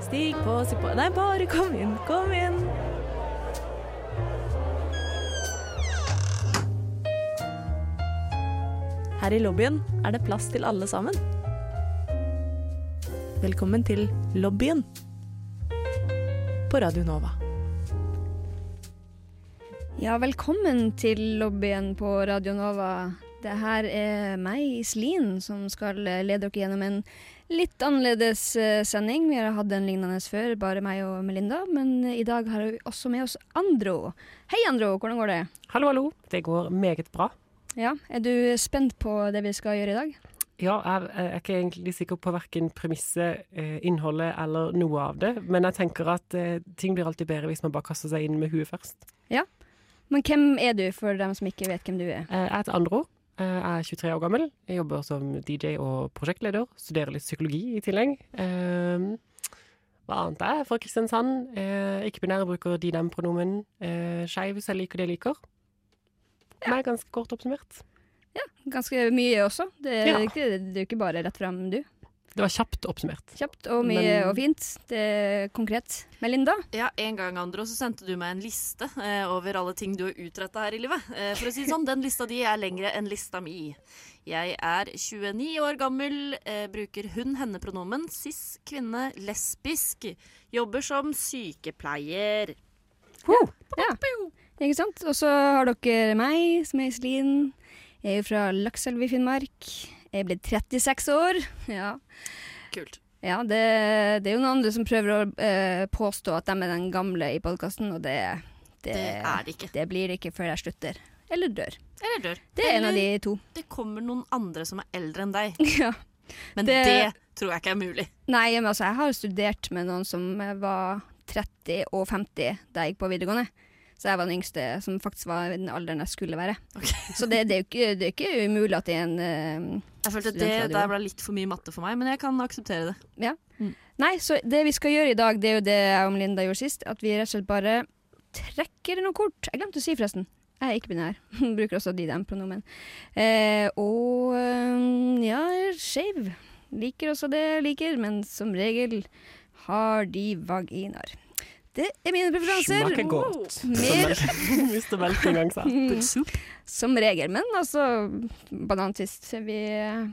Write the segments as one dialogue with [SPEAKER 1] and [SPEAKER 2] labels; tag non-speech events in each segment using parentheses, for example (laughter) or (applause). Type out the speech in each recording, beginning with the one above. [SPEAKER 1] Stig på, stig på Nei, bare kom inn, kom inn. Her i lobbyen er det plass til alle sammen. Velkommen til lobbyen på Radio Nova.
[SPEAKER 2] Ja, velkommen til lobbyen på Radio Nova. Det her er meg, Iselin, som skal eh, lede dere gjennom en litt annerledes eh, sending. Vi har hatt en lignende før, bare meg og Melinda, men eh, i dag har vi også med oss Andro. Hei, Andro, hvordan går det?
[SPEAKER 3] Hallo, hallo. Det går meget bra.
[SPEAKER 2] Ja, Er du spent på det vi skal gjøre i dag?
[SPEAKER 3] Ja, jeg, jeg er ikke egentlig sikker på verken premisset, eh, innholdet eller noe av det. Men jeg tenker at eh, ting blir alltid bedre hvis man bare kaster seg inn med huet først.
[SPEAKER 2] Men hvem er du, for dem som ikke vet hvem du er?
[SPEAKER 3] Eh, Jeg heter Andro. eh, Jeg er 23 år gammel. Jeg jobber som DJ og prosjektleder. Studerer litt psykologi i tillegg. Eh, Hva annet er jeg fra Kristiansand? Eh, Ikke-binære bruker de-dem-pronomen. Skeiv, så jeg liker det jeg liker. Nei, ganske kort oppsummert.
[SPEAKER 2] Ganske mye også. Det er,
[SPEAKER 3] Ja.
[SPEAKER 2] ikke, det er jo ikke bare rett fram, du.
[SPEAKER 3] Det var kjapt oppsummert.
[SPEAKER 2] Kjapt og mye
[SPEAKER 3] Men-
[SPEAKER 2] og fint. Det er konkret. Melinda?
[SPEAKER 4] Ja, En gang Andro, så sendte du meg en liste eh, over alle ting du har utretta her i livet. Eh, for å si det sånn, Den lista di er lengre enn lista mi. Jeg er 29 år gammel, eh, bruker hun-henne-pronomen, cis, kvinne, lesbisk. Jobber som sykepleier.
[SPEAKER 2] Ja, ikke sant? Og så har dere meg, som er Iselin. Jeg er fra Lakselv i Finnmark. Jeg er blitt 36 år. Ja,
[SPEAKER 4] Kult.
[SPEAKER 2] ja det, det er jo noen andre som prøver å eh, påstå at de er den gamle i podkasten, og det, det,
[SPEAKER 4] Det er det ikke.
[SPEAKER 2] det blir det ikke før jeg slutter. Eller dør.
[SPEAKER 4] Eller dør.
[SPEAKER 2] Det er en av
[SPEAKER 4] Eller
[SPEAKER 2] de to.
[SPEAKER 4] det kommer noen andre som er eldre enn deg.
[SPEAKER 2] (laughs) ja.
[SPEAKER 4] Men det,
[SPEAKER 2] Det-
[SPEAKER 4] tror jeg ikke er mulig.
[SPEAKER 2] Nei, men altså, jeg har studert med noen som var 30 og 50 da jeg gikk på videregående. Så jeg var den yngste som faktisk var i den alderen jeg skulle være.
[SPEAKER 4] Ok.
[SPEAKER 2] Så det, det, er jo ikke, det er ikke umulig at det er en eh,
[SPEAKER 4] Jeg følte at det
[SPEAKER 2] Studentradio.
[SPEAKER 4] der ble litt for mye matte for meg, men jeg kan akseptere det.
[SPEAKER 2] Nei, så det vi skal gjøre i dag, det er jo det jeg og Melinda gjorde sist. At vi rett og slett bare trekker noen kort. Jeg glemte å si, forresten. Jeg er ikke binær. (laughs) Bruker også de dem pronomen. Eh, og eh, ja, skeiv. Liker også det jeg liker, men som regel har de vaginaer. Det er mine preferanser.
[SPEAKER 3] Smaker godt.
[SPEAKER 2] Mer
[SPEAKER 3] (laughs) Mister melk en gang, sa
[SPEAKER 2] (laughs) som regel, men altså banantvist. Vi,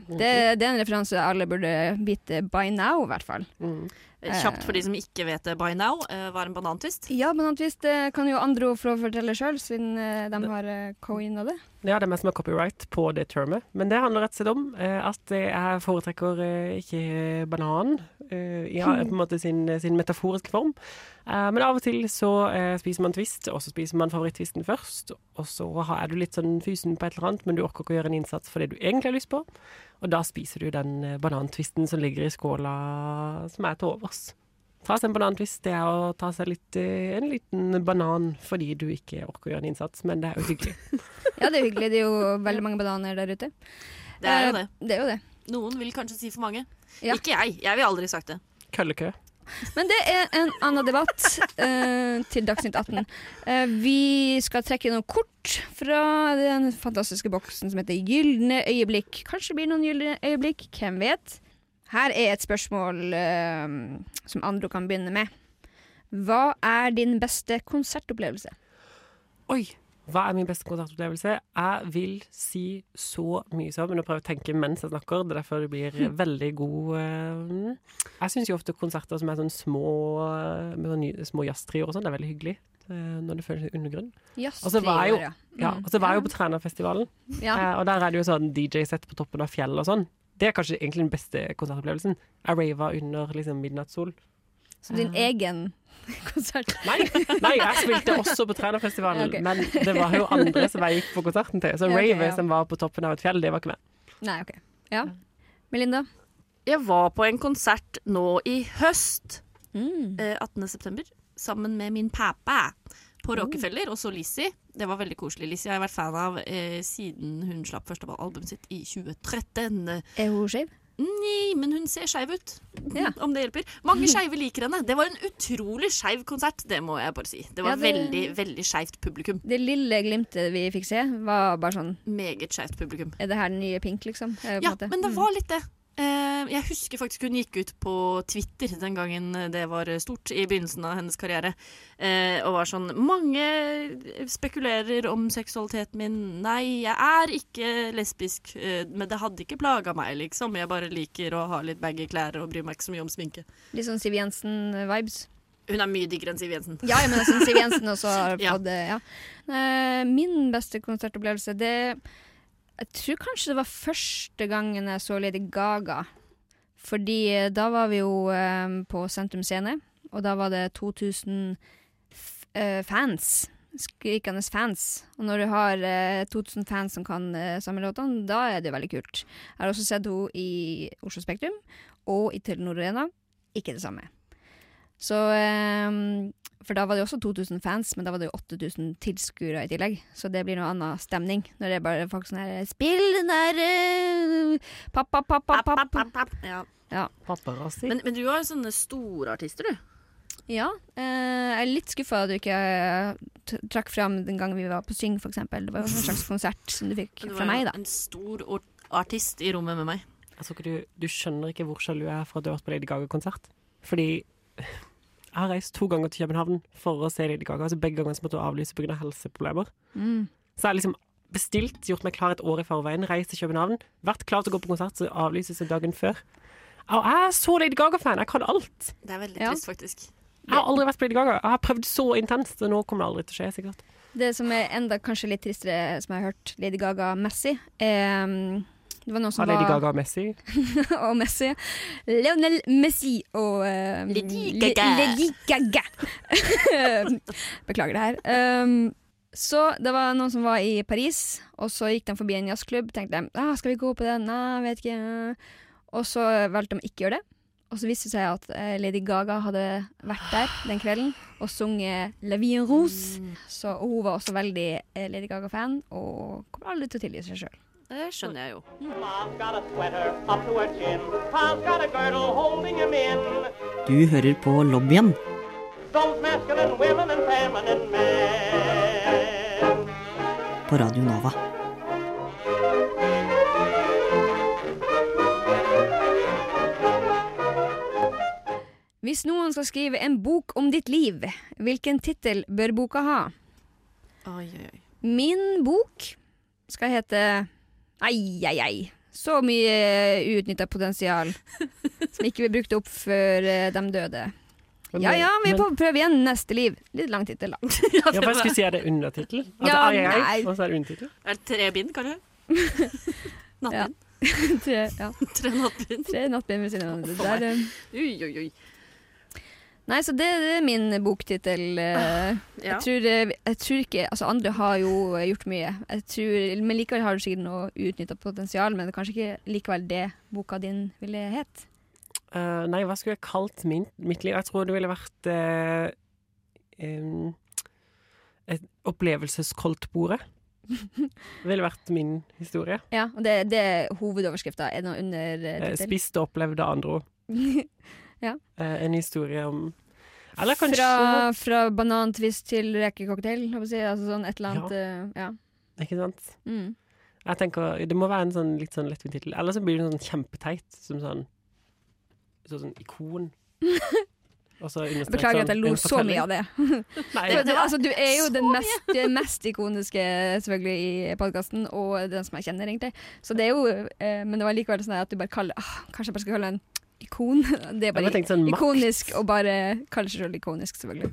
[SPEAKER 2] det, det er en referanse alle burde vite by now, i hvert fall.
[SPEAKER 3] Mm.
[SPEAKER 4] Kjapt for de som ikke vet det by now, eh, var en banantvist.
[SPEAKER 2] Ja, men antageligvis det kan jo andre ord for å fortelle sjøl, siden eh, de har eh, coina det.
[SPEAKER 3] Ja, det er meg som har copyright på det termet. Men det handler rett og slett om eh, at jeg foretrekker eh, ikke banan eh, ja, på en måte sin, sin metaforiske form. Eh, men av og til så eh, spiser man twist, og så spiser man favoritttvisten først. Og så har- er du litt sånn fysen på et eller annet, men du orker ikke å gjøre en innsats for det du egentlig har lyst på. Og da spiser du den eh, banantvisten som ligger i skåla som er til overs. Ta seg en banantvist, det er å ta seg litt, eh, en liten banan fordi du ikke orker å gjøre en innsats, men det er jo hyggelig.
[SPEAKER 2] Ja, det er hyggelig. Det er
[SPEAKER 4] (laughs)
[SPEAKER 2] jo veldig mange bananer der ute.
[SPEAKER 4] Det er jo
[SPEAKER 2] Eh,
[SPEAKER 4] det.
[SPEAKER 2] Det er jo det.
[SPEAKER 4] Noen vil kanskje si for mange.
[SPEAKER 2] Ja.
[SPEAKER 4] Ikke jeg. Jeg ville aldri sagt det.
[SPEAKER 3] Køllekø.
[SPEAKER 2] Men det er en annen debatt eh, til Dagsnytt 18. Eh, vi skal trekke noen kort fra den fantastiske boksen som heter Gylne øyeblikk. Kanskje det blir noen gylne øyeblikk, hvem vet? Her er et spørsmål eh, som andre kan begynne med. Hva er din beste konsertopplevelse?
[SPEAKER 3] Oi! Hva er min beste konsertopplevelse? Jeg vil si så mye som Men nå prøver jeg å tenke mens jeg snakker, det er derfor det blir veldig god eh, Jeg syns jo ofte konserter som er sånn små eh, med sånn ny- små jazztrioer og sånn, det er veldig hyggelig. eh, Når det føles undergrunn.
[SPEAKER 2] Yes,
[SPEAKER 3] Altså, hva er jo-
[SPEAKER 2] tre år,
[SPEAKER 3] Ja,
[SPEAKER 4] Mm.
[SPEAKER 3] og så var jeg jo på Trænafestivalen,
[SPEAKER 2] Hmm. ja.
[SPEAKER 3] eh, og der er det jo sånn DJ-sett på toppen av fjell og sånn. Det er kanskje egentlig den beste konsertopplevelsen. Jeg rava under liksom midnattssol.
[SPEAKER 2] Som din egen (laughs) konsert.
[SPEAKER 3] Nei, nei, jeg spilte også på Trænafestivalen,
[SPEAKER 2] Ok.
[SPEAKER 3] men det var jo andre som jeg gikk på konserten til. Så
[SPEAKER 2] Ja, ok,
[SPEAKER 3] rave
[SPEAKER 2] ja.
[SPEAKER 3] som var på toppen av et fjell, det var ikke meg.
[SPEAKER 2] Nei, OK. Ja. Melinda?
[SPEAKER 4] Jeg var på en konsert nå i høst, eh, 18. september, sammen med min pappa på Rockefeller, og så Lizzie. Det var veldig koselig. Lizzie har jeg vært fan av eh, siden hun slapp første albumet sitt i 2013.
[SPEAKER 2] Er hun skeiv?
[SPEAKER 4] Nei, men hun ser skeiv ut,
[SPEAKER 2] Ja.
[SPEAKER 4] (laughs) om det hjelper. Mange skeive liker henne. Det var en utrolig skeiv konsert, det må jeg bare si. Det var
[SPEAKER 2] Ja, det-
[SPEAKER 4] veldig, veldig skeivt publikum.
[SPEAKER 2] Det lille glimtet vi fikk se, var bare sånn
[SPEAKER 4] Meget skeivt publikum.
[SPEAKER 2] Er det her den nye Pink, liksom? Eh, på en
[SPEAKER 4] Ja,
[SPEAKER 2] måte.
[SPEAKER 4] men det var litt det. Eh, Jeg husker faktisk hun gikk ut på Twitter den gangen det var stort, i begynnelsen av hennes karriere, eh, og var sånn Mange spekulerer om seksualiteten min. Nei, jeg er ikke lesbisk, eh, men det hadde ikke plaga meg, liksom. Jeg bare liker å ha litt baggy klær og bryr meg ikke så mye om sminke.
[SPEAKER 2] Litt sånn Siv Jensen-vibes.
[SPEAKER 4] Hun er mye diggere enn Siv Jensen.
[SPEAKER 2] Ja, ja, men jeg synes Siv Jensen også har
[SPEAKER 4] (laughs) Ja.
[SPEAKER 2] fått det. Ja. Eh, Min beste konsertopplevelse, det Jeg tror kanskje det var første gangen jeg så Lady Gaga. Fordi eh, da var vi jo eh, på Sentrum Scene, og da var det 2000 f eh, fans. Skrikende fans. Og når du har eh, 2000 fans som kan eh, samme låtene, da er det veldig kult. Jeg har også sett henne i Oslo Spektrum og i Telenor Arena. Ikke det samme. Så eh, for da var det jo også 2000 fans, men da var det jo 8000 tilskuere i tillegg. Så det blir noe annen stemning når det er bare folk sånn her Spill den der eh, Pappa, pappa, pappa.
[SPEAKER 4] Ja.
[SPEAKER 3] Paparazzi.
[SPEAKER 4] Men, men du har jo sånne store artister, du.
[SPEAKER 2] Ja. Eh, jeg er litt skuffa at du ikke eh, t- trakk fram den gangen vi var på Syng, f.eks. Det var jo en
[SPEAKER 4] (laughs)
[SPEAKER 2] slags konsert som du fikk
[SPEAKER 4] Du var
[SPEAKER 2] fra meg,
[SPEAKER 4] jo
[SPEAKER 2] da.
[SPEAKER 4] en stor or- artist i rommet med meg.
[SPEAKER 3] Jeg tror ikke du, du skjønner ikke hvor sjalu jeg er for at du har vært på Lady Gaga-konsert. Fordi jeg har reist to ganger til København for å se Lady Gaga. Altså begge ganger så måtte jeg avlyse pga. Av helseproblemer.
[SPEAKER 2] Mm.
[SPEAKER 3] Så jeg har liksom bestilt, gjort meg klar et år i forveien, reist til København, vært klar til å gå på konsert, så avlyses det dagen før. Og jeg er så Lady Gaga-fan! Jeg kan alt!
[SPEAKER 4] Det er veldig
[SPEAKER 2] Ja.
[SPEAKER 4] trist, faktisk.
[SPEAKER 3] Jeg har aldri vært på Lady Gaga. Jeg har prøvd så intenst, og nå kommer det aldri til å skje, sikkert.
[SPEAKER 2] Det som er enda kanskje litt tristere, som jeg har hørt Lady Gaga-messig, eh, det var noen som
[SPEAKER 3] Har Lady
[SPEAKER 2] var
[SPEAKER 3] Gaga og Messi
[SPEAKER 2] (laughs) og Messi. Lionel Messi og eh,
[SPEAKER 4] Lady
[SPEAKER 2] Le-
[SPEAKER 4] Gaga.
[SPEAKER 2] Lady Gaga. (laughs) Beklager det her. Um, så det var noen som var i Paris, og så gikk de forbi en jazzklubb. Tenkte de ah, skal vi gå på den, nei, vet ikke. Og så valgte de ikke gjøre det. Og så viste det seg at eh, Lady Gaga hadde vært der den kvelden og sunget La vie en rose.
[SPEAKER 4] Mm.
[SPEAKER 2] Så hun var også veldig eh, Lady Gaga-fan og kommer aldri til å tilgi seg sjøl.
[SPEAKER 4] Det skjønner jeg jo.
[SPEAKER 5] Mom's got a sweater up to her chin. Pa's got a girdle holding him in.
[SPEAKER 6] Du hører på lobbyen.
[SPEAKER 5] Those masculine women and feminine men.
[SPEAKER 6] på Radio Nova.
[SPEAKER 2] Hvis noen skal skrive en bok om ditt liv, hvilken tittel bør boka ha?
[SPEAKER 4] Oi, oi, oi.
[SPEAKER 2] Min bok skal hete Ai, ai, ai. Så mye uutnytta potensial som ikke ble brukt opp før eh, de døde. Ja ja, vi
[SPEAKER 3] Men-
[SPEAKER 2] får prøve igjen neste liv. Litt lang tittel, da.
[SPEAKER 3] Ja, for jeg skulle si er det undertittel. At
[SPEAKER 2] Ja,
[SPEAKER 3] det er jeg,
[SPEAKER 2] nei.
[SPEAKER 3] og så er det undertittel.
[SPEAKER 4] Er det tre
[SPEAKER 2] (laughs)
[SPEAKER 4] bind, kanskje? Nattbind?
[SPEAKER 2] (laughs) tre, ja,
[SPEAKER 4] Tre nattbind?
[SPEAKER 2] tre nattbind ved siden av hverandre. Der, eh.
[SPEAKER 4] Oi, oi, oi.
[SPEAKER 2] Nei, så det, det er min boktittel. eh.
[SPEAKER 4] Ja.
[SPEAKER 2] Jeg, tror, eh, jeg tror ikke Altså, andre har jo eh, gjort mye. Jeg tror, men likevel har du sikkert noe uutnytta potensial, men det er kanskje ikke likevel det boka din ville het.
[SPEAKER 3] Eh, nei, hva skulle jeg kalt min, mitt liv? Jeg tror det ville vært eh, em, et
[SPEAKER 2] (laughs)
[SPEAKER 3] opplevelseskoltbordet. Det ville vært min historie.
[SPEAKER 2] Ja, og det, det er hovedoverskrifta. Er det noe
[SPEAKER 3] Eh,
[SPEAKER 2] undertittel?
[SPEAKER 3] spist og opplevd av
[SPEAKER 2] (laughs)
[SPEAKER 3] andre ord. Eh, en historie om Eller kanskje
[SPEAKER 2] Fra, fra banantvist til rekecocktail, holdt jeg på å si. Altså sånn et eller annet. eh, Ja.
[SPEAKER 3] Ikke sant?
[SPEAKER 2] Mm.
[SPEAKER 3] Jeg tenker, Det må være en sånn litt sånn lettvint tittel. Eller så blir det sånn kjempeteit som sånn Sånn, sånn ikon. Og så understreket
[SPEAKER 2] Beklager at jeg lo
[SPEAKER 3] en
[SPEAKER 2] så mye
[SPEAKER 3] fortelling.
[SPEAKER 2] av det.
[SPEAKER 3] Nei,
[SPEAKER 2] For, du, altså, du er jo den mest, det mest ikoniske selvfølgelig i podkasten, og den som jeg kjenner, egentlig. Så det er jo, eh, men det var likevel sånn at du bare kaller ah, Kanskje jeg bare skal kalle den ikon? (laughs) Det er
[SPEAKER 3] jeg bare
[SPEAKER 2] bare
[SPEAKER 3] tenkte sånn makt.
[SPEAKER 2] ikonisk å bare kalle seg selv ikonisk, selvfølgelig.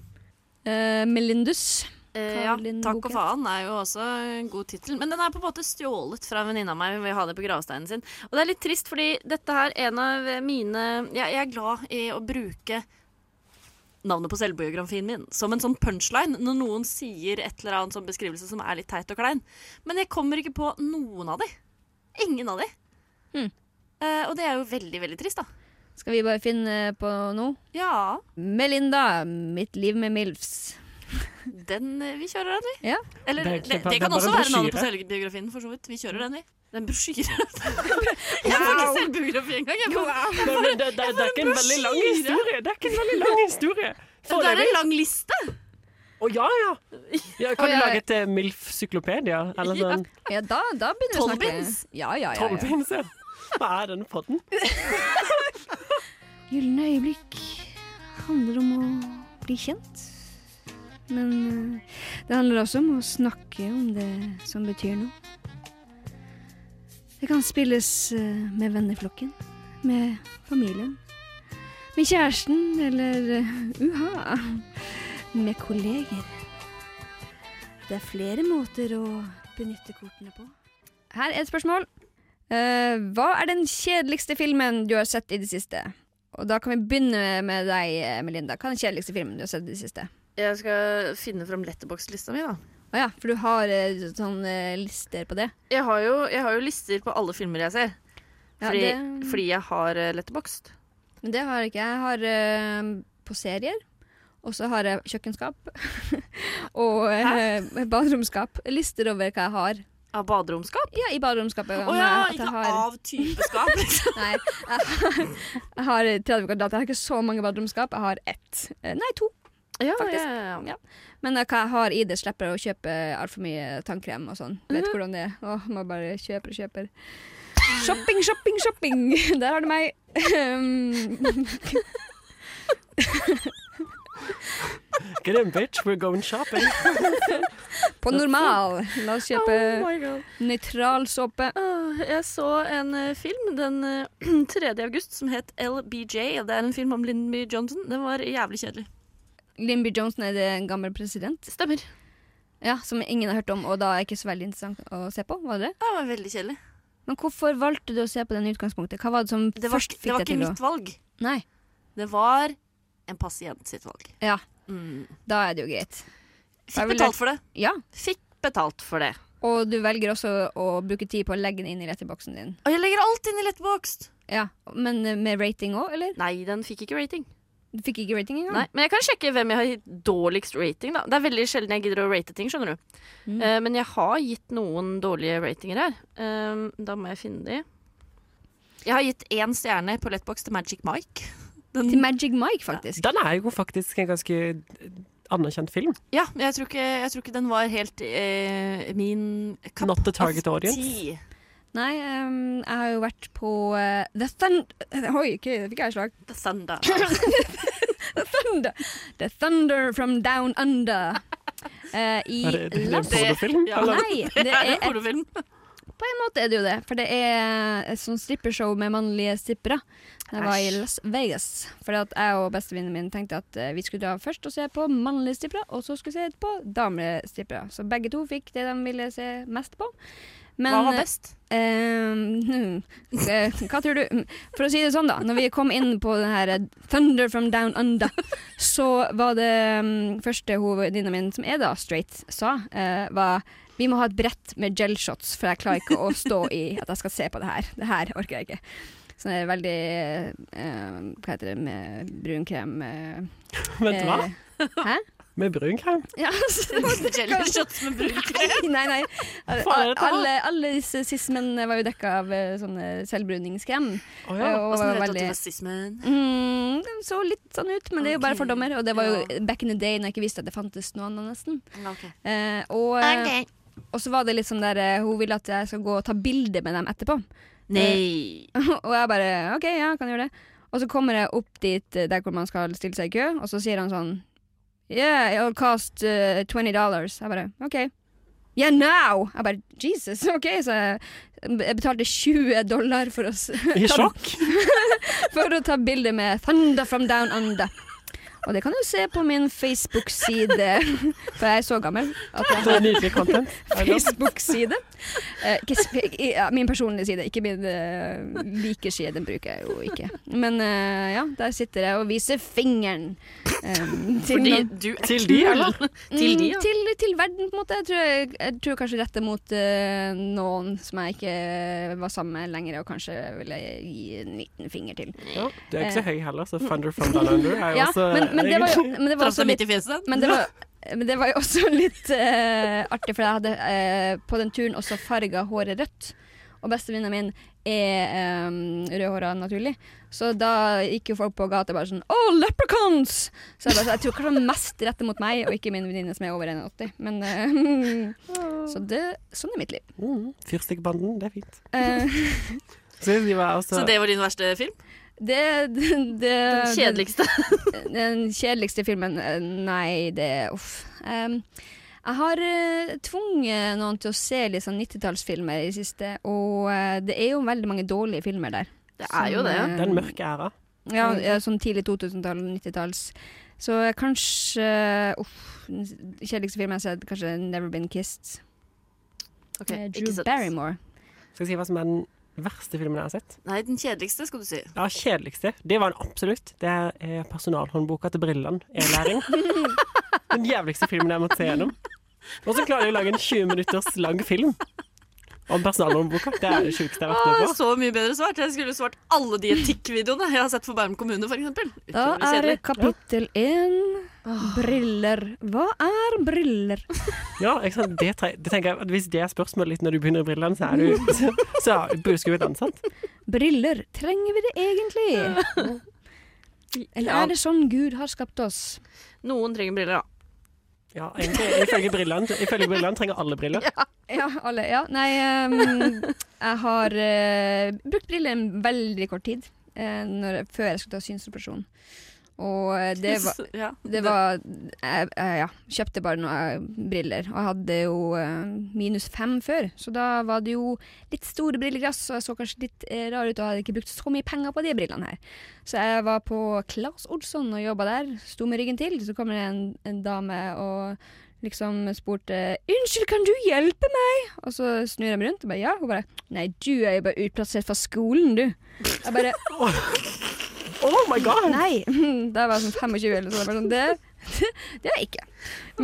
[SPEAKER 2] Eh, Melindus.
[SPEAKER 4] Eh, ja,
[SPEAKER 2] Karolin
[SPEAKER 4] Takk og
[SPEAKER 2] Buket.
[SPEAKER 4] faen er jo også en god tittel. Men den er på en måte stjålet fra en venninne av meg. Hun vil ha det på gravsteinen sin. Og det er litt trist, fordi dette her er en av mine Jeg, jeg er glad i å bruke navnet på selvbiografien min som en sånn punchline når noen sier et eller annet sånn beskrivelse som er litt teit og klein. Men jeg kommer ikke på noen av de. Ingen av de.
[SPEAKER 2] Hmm.
[SPEAKER 4] Eh, og det er jo veldig, veldig trist, da.
[SPEAKER 2] Skal vi bare finne på noe?
[SPEAKER 4] Ja,
[SPEAKER 2] Melinda. Mitt liv med Milfs.
[SPEAKER 4] den eh, Vi kjører den, vi.
[SPEAKER 2] Ja.
[SPEAKER 4] Eller
[SPEAKER 3] Det
[SPEAKER 4] det,
[SPEAKER 3] er ikke-
[SPEAKER 4] det,
[SPEAKER 3] det er
[SPEAKER 4] kan
[SPEAKER 3] bare
[SPEAKER 4] også
[SPEAKER 3] en
[SPEAKER 4] være navnet på
[SPEAKER 3] brosjyre.
[SPEAKER 4] selvbiografien, for så vidt. Vi kjører den, vi. Det er en
[SPEAKER 3] (laughs)
[SPEAKER 4] brosjyre. jeg får ikke selvbiografi engang. Jeg får,
[SPEAKER 3] Nei, men det, det, det er ikke en veldig lang
[SPEAKER 4] brosjyre.
[SPEAKER 3] historie. Det er ikke en veldig lang historie.
[SPEAKER 4] det er
[SPEAKER 3] Foreløpig.
[SPEAKER 4] en lang liste.
[SPEAKER 3] Å ja, ja. ja
[SPEAKER 2] Å,
[SPEAKER 3] kan du
[SPEAKER 2] ja, ja.
[SPEAKER 3] lage et eh, MILF-syklopedia? Eller sånn
[SPEAKER 2] Ja, da, da begynner vi å snakke.
[SPEAKER 4] Tolvbinds?
[SPEAKER 2] Ja, ja, ja, ja.
[SPEAKER 3] tolvpinse? Hva er denne podden?
[SPEAKER 2] Gylne øyeblikk handler om å bli kjent. Men eh, det handler også om å snakke om det som betyr noe. Det kan spilles eh, med venneflokken, med familien, med kjæresten eller eh, uha, med kolleger. Det er flere måter å benytte kortene på. Her er et spørsmål. Eh, hva er den kjedeligste filmen du har sett i det siste? Og da kan vi begynne med deg, Melinda. Hva er den kjedeligste filmen du har sett i det siste?
[SPEAKER 4] Jeg skal finne fram letterbox-lista mi, da.
[SPEAKER 2] Å ja, for du har eh, sånn eh, lister på det.
[SPEAKER 4] Jeg har, jo, jeg har jo lister på alle filmer jeg ser.
[SPEAKER 2] Ja,
[SPEAKER 4] Fordi,
[SPEAKER 2] det-
[SPEAKER 4] fordi jeg har eh, letterboxd.
[SPEAKER 2] Men det har jeg ikke. Jeg har eh, på serier. Og så har jeg kjøkkenskap. (laughs) og eh, (laughs) baderomsskap. Lister over hva jeg har.
[SPEAKER 4] Av baderomskap?
[SPEAKER 2] Ja, i baderomsskapet.
[SPEAKER 4] Å
[SPEAKER 2] om
[SPEAKER 4] ja!
[SPEAKER 2] jeg- at jeg
[SPEAKER 4] Ikke
[SPEAKER 2] har-
[SPEAKER 4] av typeskap, liksom.
[SPEAKER 2] (laughs) Nei, jeg har, jeg har 30 kvadrat. Jeg har ikke så mange baderomsskap. Jeg har ett. Eh, Nei, to.
[SPEAKER 4] (laughs) ja,
[SPEAKER 2] Faktisk.
[SPEAKER 4] ja, ja.
[SPEAKER 2] Ja. Men hva jeg har i det, slipper jeg å kjøpe altfor mye tannkrem og sånn. Vet
[SPEAKER 4] Mhm.
[SPEAKER 2] hvordan det er. Åh, man bare kjøper og
[SPEAKER 4] (laughs)
[SPEAKER 2] kjøper. Shopping, shopping, shopping! (laughs) Der har du meg. Um,
[SPEAKER 3] Get in, bitch, we're going shopping.
[SPEAKER 2] på normal. La oss
[SPEAKER 4] Oh
[SPEAKER 2] kjøpe
[SPEAKER 4] my God.
[SPEAKER 2] nøytral såpe.
[SPEAKER 4] Åh, Jeg så en eh, film den eh, (clears throat) 3. august som het LBJ. og Det er en film om Lyndby Johnson. Den var jævlig kjedelig.
[SPEAKER 2] Limby Johnson er det en gammel president
[SPEAKER 4] Stemmer.
[SPEAKER 2] Ja, som ingen har hørt om, og da er ikke så veldig interessant å se på. var det?
[SPEAKER 4] Det var veldig kjedelig.
[SPEAKER 2] Men hvorfor valgte du å se på den i utgangspunktet? Hva var det som
[SPEAKER 4] Det var,
[SPEAKER 2] først
[SPEAKER 4] ikke- det
[SPEAKER 2] fikk
[SPEAKER 4] var
[SPEAKER 2] deg
[SPEAKER 4] ikke
[SPEAKER 2] til å
[SPEAKER 4] mitt valg.
[SPEAKER 2] Nei.
[SPEAKER 4] Det var en pasient sitt valg.
[SPEAKER 2] Ja,
[SPEAKER 4] Mm.
[SPEAKER 2] da er det jo greit. Jeg
[SPEAKER 4] Fikk
[SPEAKER 2] vil-
[SPEAKER 4] betalt for det.
[SPEAKER 2] Ja.
[SPEAKER 4] Fikk betalt for det.
[SPEAKER 2] Og du velger også å bruke tid på å legge den inn i letterboksen din.
[SPEAKER 4] Og jeg legger alt inn i letterboxd.
[SPEAKER 2] Ja, Men eh, med rating òg, eller?
[SPEAKER 4] Nei, den fikk ikke rating.
[SPEAKER 2] Du fikk ikke rating engang?
[SPEAKER 4] Nei, Men jeg kan sjekke hvem jeg har gitt dårligst rating. da Det er veldig sjelden jeg gidder å rate ting, skjønner du.
[SPEAKER 2] Mm.
[SPEAKER 4] Eh, men jeg har gitt noen dårlige ratinger her. Eh, da må jeg finne de. Jeg har gitt én stjerne på Letbox til Magic Mike. Den,
[SPEAKER 2] Til Magic Mike, faktisk.
[SPEAKER 3] Den er jo faktisk en ganske eh, anerkjent film.
[SPEAKER 4] ja, men jeg tror, ikke, jeg tror ikke den var helt eh, min cup
[SPEAKER 3] Not the target
[SPEAKER 4] of
[SPEAKER 3] audience.
[SPEAKER 4] tea.
[SPEAKER 2] Nei, ehm, jeg har jo vært på eh, The Thunder (laughs) Oi, ikke, det fikk jeg et slag.
[SPEAKER 4] The Thunder.
[SPEAKER 2] The Thunder The Thunder from Down Under. Eh, I
[SPEAKER 3] Er det, er det en
[SPEAKER 2] Las
[SPEAKER 3] pornofilm?
[SPEAKER 4] Ja.
[SPEAKER 3] eller?
[SPEAKER 2] Nei, det
[SPEAKER 4] Det (laughs) er
[SPEAKER 2] er
[SPEAKER 4] en pornofilm.
[SPEAKER 2] På en måte er det jo det, for det er et sånt strippershow med mannlige strippere. Da Jeg var i
[SPEAKER 4] Æsj.
[SPEAKER 2] Las Vegas, for at jeg og bestevennen min tenkte at eh, vi skulle dra først og se på mannlige strippere, og så skulle vi se på damelige strippere. Så begge to fikk det de ville se mest på. Men, eh,
[SPEAKER 4] Hva var (laughs) best?
[SPEAKER 2] Ehm, (laughs) hmm, eh, hva tror du? For å si det sånn, da. Når vi kom inn på den her eh, Thunder from Down Under, så var det mm, første hovedvenninna min, som er da straight, sa, eh, var vi må ha et brett med gel shots, for jeg klarer ikke å stå i at jeg skal se på det her. Det her orker jeg ikke. Så det er veldig eh, Hva heter det med brun krem eh,
[SPEAKER 3] Vent, hva?
[SPEAKER 2] eh, Hæ?
[SPEAKER 3] Med brun krem?
[SPEAKER 2] Ja, altså, så,
[SPEAKER 4] (laughs) Jelly shots med brun krem.
[SPEAKER 2] Nei,
[SPEAKER 4] (laughs)
[SPEAKER 2] nei, nei.
[SPEAKER 3] faen er dette her?
[SPEAKER 2] Alle, alle disse sismene var jo dekka av eh, sånne selvbruningskrem.
[SPEAKER 3] Å ja.
[SPEAKER 2] Og
[SPEAKER 4] Åssen
[SPEAKER 2] var
[SPEAKER 4] vet du at
[SPEAKER 2] veldig
[SPEAKER 4] det var sismen?
[SPEAKER 2] mm, Den så litt sånn ut, men det er jo bare
[SPEAKER 4] Ok,
[SPEAKER 2] fordommer. Og det var
[SPEAKER 4] ja.
[SPEAKER 2] jo back in the day når jeg ikke visste at det fantes noe annet, nesten.
[SPEAKER 4] Okay.
[SPEAKER 2] Eh, og, eh, og så var det litt sånn der eh, Hun vil at jeg skal gå og ta bilde med dem etterpå.
[SPEAKER 4] Nei.
[SPEAKER 2] (laughs) og jeg bare OK, ja, kan gjøre det. Og så kommer jeg opp dit eh, der hvor man skal stille seg i kø, og så sier han sånn Yeah, it'll cost eh, 20 dollars. Jeg bare OK. Yeah, now! Jeg bare Jesus, OK. Så jeg, jeg betalte 20 dollar for å, s- (laughs)
[SPEAKER 3] I sjokk?
[SPEAKER 2] for å ta bilde med Thunder from Down Under. Og det kan du se på min Facebook-side, (laughs) for jeg er så gammel at jeg
[SPEAKER 3] Det er nydelig (laughs) content. I love it.
[SPEAKER 2] Facebook-side. Eh, ikke sp- i- ja, min personlige side, ikke min uh, likerside. Den bruker jeg jo ikke. Men eh, ja, der sitter jeg og viser fingeren.
[SPEAKER 4] (laughs)
[SPEAKER 2] eh, til
[SPEAKER 4] Fordi
[SPEAKER 2] noen-
[SPEAKER 4] du er
[SPEAKER 3] Til de,
[SPEAKER 4] kul.
[SPEAKER 3] eller?
[SPEAKER 4] Til de,
[SPEAKER 2] Mm,
[SPEAKER 4] ja.
[SPEAKER 2] til, til verden, på en måte. Jeg tror, jeg, jeg tror kanskje rette mot eh, noen som jeg ikke eh, var sammen med lenger, og kanskje ville gi en liten finger til.
[SPEAKER 3] Ja, du er ikke så høy heller, så Thunder from Down Under er jo
[SPEAKER 2] Eh. (laughs) Ja,
[SPEAKER 3] også
[SPEAKER 2] men, men det var jo men det var
[SPEAKER 4] Traff
[SPEAKER 2] også
[SPEAKER 4] deg
[SPEAKER 2] litt
[SPEAKER 4] midt i fjeset?
[SPEAKER 2] Men det var, men det var jo også (laughs) litt eh, artig, for jeg hadde eh, på den turen også farga håret rødt. Og bestevenninna min er um, rødhåra naturlig, så da gikk jo folk på gata bare sånn Oh, leprechauns! Så jeg, bare, så jeg tror kanskje det var mest rette mot meg, og ikke min venninne som er over 1,80. Men eh, (laughs) Så det, sånn er mitt liv.
[SPEAKER 3] Mm, Fyrstikkbanden, det er fint.
[SPEAKER 2] Eh,
[SPEAKER 3] (laughs) Så jeg altså- skriver også
[SPEAKER 4] Så det var din verste film?
[SPEAKER 2] Det, (laughs) det, det
[SPEAKER 4] Den kjedeligste?
[SPEAKER 2] Den, den kjedeligste filmen eh, Nei, det Uff. Em, jeg har eh, tvunget noen til å se litt sånn 90-tallsfilmer i det siste, og eh, det er jo veldig mange dårlige filmer der.
[SPEAKER 4] Det er jo det.
[SPEAKER 2] Som,
[SPEAKER 4] ja.
[SPEAKER 2] eh,
[SPEAKER 3] Den mørke æra.
[SPEAKER 2] Ja, ja sånn tidlig 2000-tall, 90-talls. Så eh, kanskje Uff. den Kjedeligste film jeg har sett, kanskje 'Never Been Kissed'.
[SPEAKER 4] Ok,
[SPEAKER 2] med
[SPEAKER 4] ikke
[SPEAKER 2] eh, Drew
[SPEAKER 4] sett.
[SPEAKER 2] Barrymore.
[SPEAKER 3] Skal jeg si hva som er den verste filmen jeg har sett?
[SPEAKER 4] Nei, den kjedeligste, skal du si.
[SPEAKER 3] Ja, kjedeligste. Det var den absolutt. Det er eh, personalhåndboka til Brilland.
[SPEAKER 2] (laughs)
[SPEAKER 3] E-læring. Den jævligste filmen jeg måtte se gjennom. Og så klarer de å lage en 20 minutters lang film om personalhåndboka. Det er det sjukeste jeg har vært
[SPEAKER 4] Åh,
[SPEAKER 3] med på.
[SPEAKER 4] så mye bedre svart. Jeg skulle svart alle de etikkvideoene jeg har sett for Bærum kommune, f.eks.
[SPEAKER 2] Da er det kapittel én briller. Hva er briller?
[SPEAKER 3] Ja, ikke sant? Det, tre- det tenker jeg at Hvis det er spørsmålet litt når du begynner i Brilland, så er du så, så er- burde du vært ansatt.
[SPEAKER 2] Briller, trenger vi det egentlig? (laughs) Eller
[SPEAKER 4] Ja.
[SPEAKER 2] er det sånn Gud har skapt oss?
[SPEAKER 4] Noen trenger briller, da.
[SPEAKER 3] Ja, egentlig, ifølge Brilland, ifølge Brilland trenger alle briller.
[SPEAKER 2] Ja, alle. Ja. Nei, ehm, jeg har eh, brukt briller en veldig kort tid eh, når, før jeg skulle ta synsoperasjon. Og eh, det var
[SPEAKER 4] (laughs) ja.
[SPEAKER 2] Det var jeg, jeg, Ja, kjøpte bare noen briller. Og jeg hadde jo eh, minus fem før, så da var det jo litt store brilleglass, og jeg så kanskje litt eh, rar ut og hadde ikke brukt så mye penger på de brillene her. Så jeg var på Claes Olsson og jobba der. Sto med ryggen til, så kommer det en, en dame og liksom spurte 'Unnskyld, kan du hjelpe meg?' Og så snur jeg meg rundt og bare 'ja'. Hun bare 'Nei, du er jo bare utplassert fra skolen, du'. Jeg bare
[SPEAKER 3] Oh my god!
[SPEAKER 2] Nei, (laughs) da var jeg sånn 25 eller sånn. Jeg bare sånn, Det, (laughs) det, det er jeg ikke.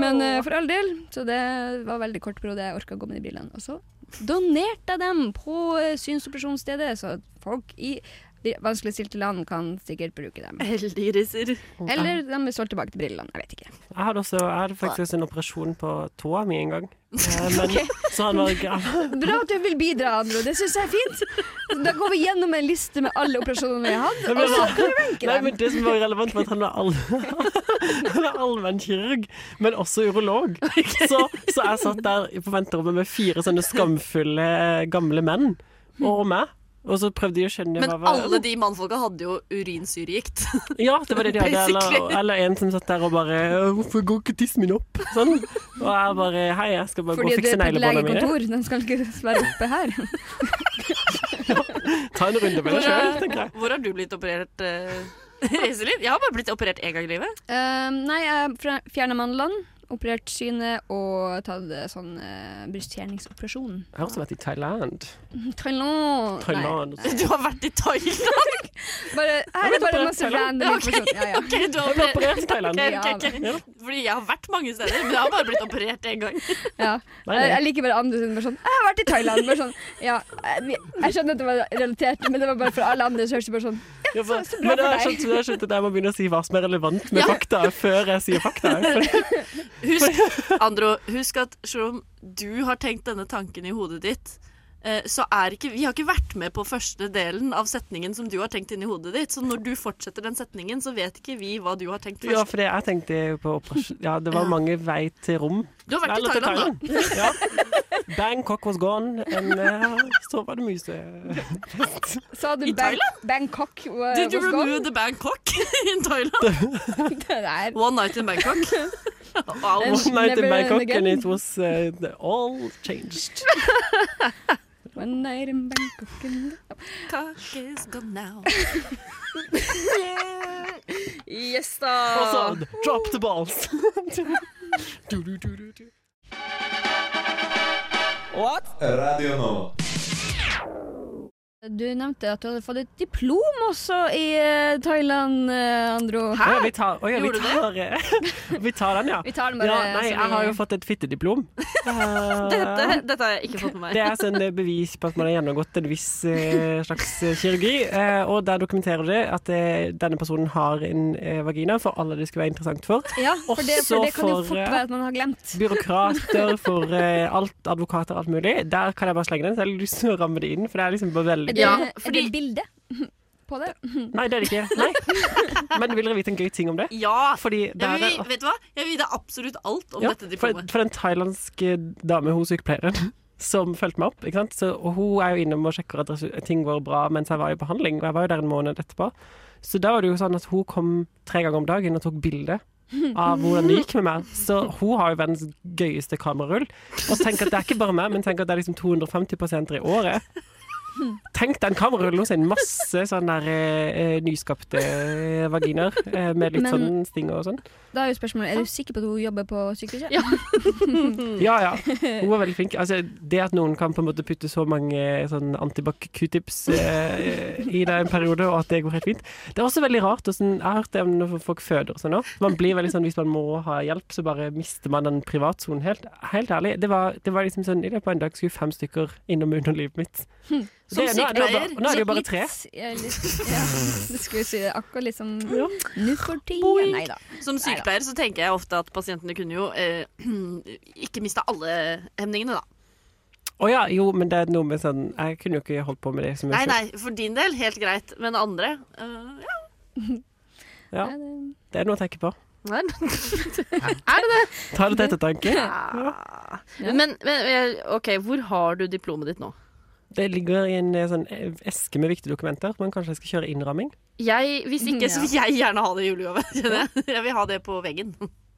[SPEAKER 2] Men eh, for all del, så det var veldig kort periode jeg orka å gå med de brillene. Og så donerte jeg dem på eh, synsoperasjonsstedet, så at folk i de vanskeligstilte land kan sikkert bruke dem.
[SPEAKER 4] Heldige risser.
[SPEAKER 2] Eller de er solgt tilbake til brillene, jeg vet ikke.
[SPEAKER 3] Jeg hadde, også, jeg hadde faktisk også en operasjon på tåa mi en gang. Eh, Men, Så han var gra-
[SPEAKER 2] Bra at du vil bidra, Andro. Det syns jeg er fint. Da går vi gjennom en liste med alle operasjonene jeg har hatt, og så kan vi ranke
[SPEAKER 3] altså, Nei,
[SPEAKER 2] dem.
[SPEAKER 3] men Det som var relevant, var at han var, all... (laughs) han var allmennkirurg, men også urolog. Så, så jeg satt der på venterommet med fire sånne skamfulle eh, gamle menn og meg. Og så prøvde de å skjønne
[SPEAKER 4] Men
[SPEAKER 3] hva var
[SPEAKER 4] alle de mannfolka hadde jo urinsyregikt.
[SPEAKER 3] Ja, det var det de hadde. Eller,
[SPEAKER 4] Basically.
[SPEAKER 3] eller en som satt der og bare «Øh, 'Hvorfor går ikke tissen min opp?' Sånn. Og jeg bare 'Hei, jeg skal bare gå
[SPEAKER 2] Fordi
[SPEAKER 3] og
[SPEAKER 2] du er
[SPEAKER 3] fikse
[SPEAKER 2] på et
[SPEAKER 3] neglebåndene mine'.
[SPEAKER 2] legekontor, den skal ikke være oppe her.
[SPEAKER 3] Ta en runde med
[SPEAKER 4] Hvor
[SPEAKER 3] deg sjøl,
[SPEAKER 4] er,
[SPEAKER 3] tenker jeg.
[SPEAKER 4] hvor har du blitt operert, eh, (laughs) Iselin? Jeg har bare blitt operert én gang i livet.
[SPEAKER 2] Ehm, nei, jeg fjerna mandlene, operert synet og tatt eh, sånn uh, brystfjerningsoperasjon.
[SPEAKER 3] Jeg har også vært i Thailand.
[SPEAKER 2] (laughs) Thailand!
[SPEAKER 3] Thailand.
[SPEAKER 4] (laughs) Du har vært i Thailand!
[SPEAKER 2] Nei, bare, her er bare masse
[SPEAKER 3] Thailand.
[SPEAKER 2] random informasjon. Ja,
[SPEAKER 3] (laughs)
[SPEAKER 2] ja.
[SPEAKER 4] (laughs) Ok, du har
[SPEAKER 3] Jeg ble
[SPEAKER 4] operert.
[SPEAKER 3] operert i Thailand.
[SPEAKER 4] Ok,
[SPEAKER 2] Ja.
[SPEAKER 4] ok, ok. Fordi jeg har vært mange steder, men jeg har bare blitt operert én gang.
[SPEAKER 2] ja.
[SPEAKER 3] Nei,
[SPEAKER 2] Jeg,
[SPEAKER 3] nei.
[SPEAKER 2] jeg liker bare andre sine bare sånn 'Jeg har vært i Thailand.' Bare sånn, ja, jeg, jeg skjønner at det var relatert, men det var bare for alle andre. Så hørtes det bare sånn
[SPEAKER 3] Ja, for-
[SPEAKER 2] så bra
[SPEAKER 3] Men jeg
[SPEAKER 2] for
[SPEAKER 3] har
[SPEAKER 2] deg.
[SPEAKER 3] skjønt jeg har skjønt at jeg må begynne å si hva som er relevant med fakta, før jeg sier fakta. For-
[SPEAKER 4] Husk,
[SPEAKER 3] (laughs)
[SPEAKER 4] Andro, husk at selv om du har tenkt denne tanken i hodet ditt, eh, så er ikke Vi har ikke vært med på første delen av setningen som du har tenkt inni hodet ditt. Så når du fortsetter den setningen, så vet ikke vi hva du har tenkt
[SPEAKER 3] Ja,
[SPEAKER 4] først.
[SPEAKER 3] for det jeg tenkte på operasjon Ja, det var mange vei til rom.
[SPEAKER 4] Du har vært i
[SPEAKER 3] Eller til
[SPEAKER 4] Thailand, da.
[SPEAKER 3] Thailand. Ja. Bangkok was gone, and uh, så var det muse.
[SPEAKER 2] Sa du
[SPEAKER 4] I
[SPEAKER 2] Bang Bangkok? wa-
[SPEAKER 4] Did you
[SPEAKER 2] was gone?
[SPEAKER 4] remove the Bangkok (laughs) in Thailand?
[SPEAKER 2] Det
[SPEAKER 3] (laughs)
[SPEAKER 2] der.
[SPEAKER 4] One night in Bangkok. Wow.
[SPEAKER 3] One night in
[SPEAKER 2] Never
[SPEAKER 3] Bangkok,
[SPEAKER 2] again.
[SPEAKER 3] and it was uh, all changed.
[SPEAKER 2] One night in Bangkok and
[SPEAKER 4] Cock is gone now.
[SPEAKER 2] Yes
[SPEAKER 3] Og så
[SPEAKER 2] da.
[SPEAKER 3] Altså, drop the balls. Du, du, du, du, du.
[SPEAKER 7] Radio Nova.
[SPEAKER 2] Du nevnte at du hadde fått et diplom også i eh, Thailand, eh, Andro.
[SPEAKER 3] Å ja, vi tar, å ja, vi
[SPEAKER 4] Gjorde
[SPEAKER 3] tar, eh, (laughs) vi tar den, ja.
[SPEAKER 2] Vi tar den bare.
[SPEAKER 3] ja nei,
[SPEAKER 2] så vi-
[SPEAKER 3] jeg har jo fått et fittediplom.
[SPEAKER 4] (laughs) Dette,
[SPEAKER 3] Eh,
[SPEAKER 4] dette har jeg ikke fått med
[SPEAKER 3] Det
[SPEAKER 4] meg.
[SPEAKER 3] er sånn eh, bevis på at man har gjennomgått en viss eh, slags eh, kirurgi. eh, og der dokumenterer det at eh, denne personen har en eh, vagina for alle det skulle være interessant for.
[SPEAKER 2] ja, for det, for det kan jo
[SPEAKER 3] også for,
[SPEAKER 2] fort
[SPEAKER 3] eh,
[SPEAKER 2] være at man har glemt.
[SPEAKER 3] Byråkrater for eh, alt, advokater og alt mulig. Der kan jeg bare slenge den, så jeg har lyst til å ramme det inn. For det er liksom
[SPEAKER 2] Er
[SPEAKER 3] bare veldig
[SPEAKER 2] det,
[SPEAKER 4] Ja,
[SPEAKER 2] er
[SPEAKER 4] fordi-
[SPEAKER 2] det bilde på det?
[SPEAKER 3] Nei, det er det ikke. Nei.
[SPEAKER 4] (laughs)
[SPEAKER 3] Men vil dere vite en gøy ting om det?
[SPEAKER 4] Ja!
[SPEAKER 3] Fordi det er
[SPEAKER 4] Jeg vil, vet du hva? Jeg vil vite absolutt alt om
[SPEAKER 3] Ja,
[SPEAKER 4] dette
[SPEAKER 3] for,
[SPEAKER 4] diplomet.
[SPEAKER 3] for den thailandske dame, hun sykepleieren (laughs) som fulgte meg opp. Ikke sant? Så, og hun er jo innom og sjekker at resu- ting går bra mens jeg var i behandling, og jeg var jo der en måned etterpå. Så da var det jo sånn at hun kom tre ganger om dagen og tok bilde av hvordan det gikk med meg. Så hun har jo verdens gøyeste kamerarull. Og tenk at det er ikke bare meg, men tenk at det er liksom 250 pasienter i året. Tenk den kamerarullen hos en masse sånn der eh, eh, nyskapte vaginaer eh, med litt
[SPEAKER 2] Men-
[SPEAKER 3] sånn stinger og sånn.
[SPEAKER 2] Da er jo spørsmålet, er du sikker på at hun jobber på sykehuset?
[SPEAKER 4] Ja. Mm.
[SPEAKER 3] Ja,
[SPEAKER 4] (laughs)
[SPEAKER 3] ja. Hun var veldig flink. Altså, det at noen kan på en måte putte så mange sånn antibac-q-tips eh, i deg en periode, og at det går helt fint Det er også veldig rart. Og sånn, jeg har hørt det om når folk føder og sånn òg. Man blir veldig sånn hvis man må ha hjelp, så bare mister man den privatsonen helt. Helt ærlig. Det var, det var liksom sånn I løpet av en dag skulle fem stykker innom underlivet mitt.
[SPEAKER 4] Hm. Som
[SPEAKER 3] Det- nå er det jo
[SPEAKER 4] sykepleier,
[SPEAKER 3] bare- Nå er det jo bare
[SPEAKER 2] Litt-
[SPEAKER 3] tre.
[SPEAKER 2] Ja, litt, ja. Det skulle jeg si det akkurat liksom
[SPEAKER 3] Ja.
[SPEAKER 2] Nå for tida. Nei da.
[SPEAKER 4] Som sykepleier så tenker jeg ofte at pasientene kunne jo eh, (clears throat) ikke mista alle hemningene, da.
[SPEAKER 3] Å ja, jo, men det er noe med sånn Jeg kunne jo ikke holdt på med det så mye.
[SPEAKER 4] Nei,
[SPEAKER 3] selv.
[SPEAKER 4] nei, for din del helt greit, men andre eh, ja.
[SPEAKER 3] Ja,
[SPEAKER 2] Nei, det-
[SPEAKER 3] det er noe å tenke på.
[SPEAKER 4] Nei.
[SPEAKER 3] Ta det til ettertanke.
[SPEAKER 4] (laughs)
[SPEAKER 3] Ja.
[SPEAKER 4] Men, men eh, OK, hvor har du diplomet ditt nå?
[SPEAKER 3] Det ligger i en eh, sånn eh, eske med viktige dokumenter, men kanskje jeg skal kjøre innramming.
[SPEAKER 4] Jeg, (laughs) hvis ikke, så vil jeg gjerne ha det i julegave. (laughs) kjenner Jeg Jeg vil ha det på veggen.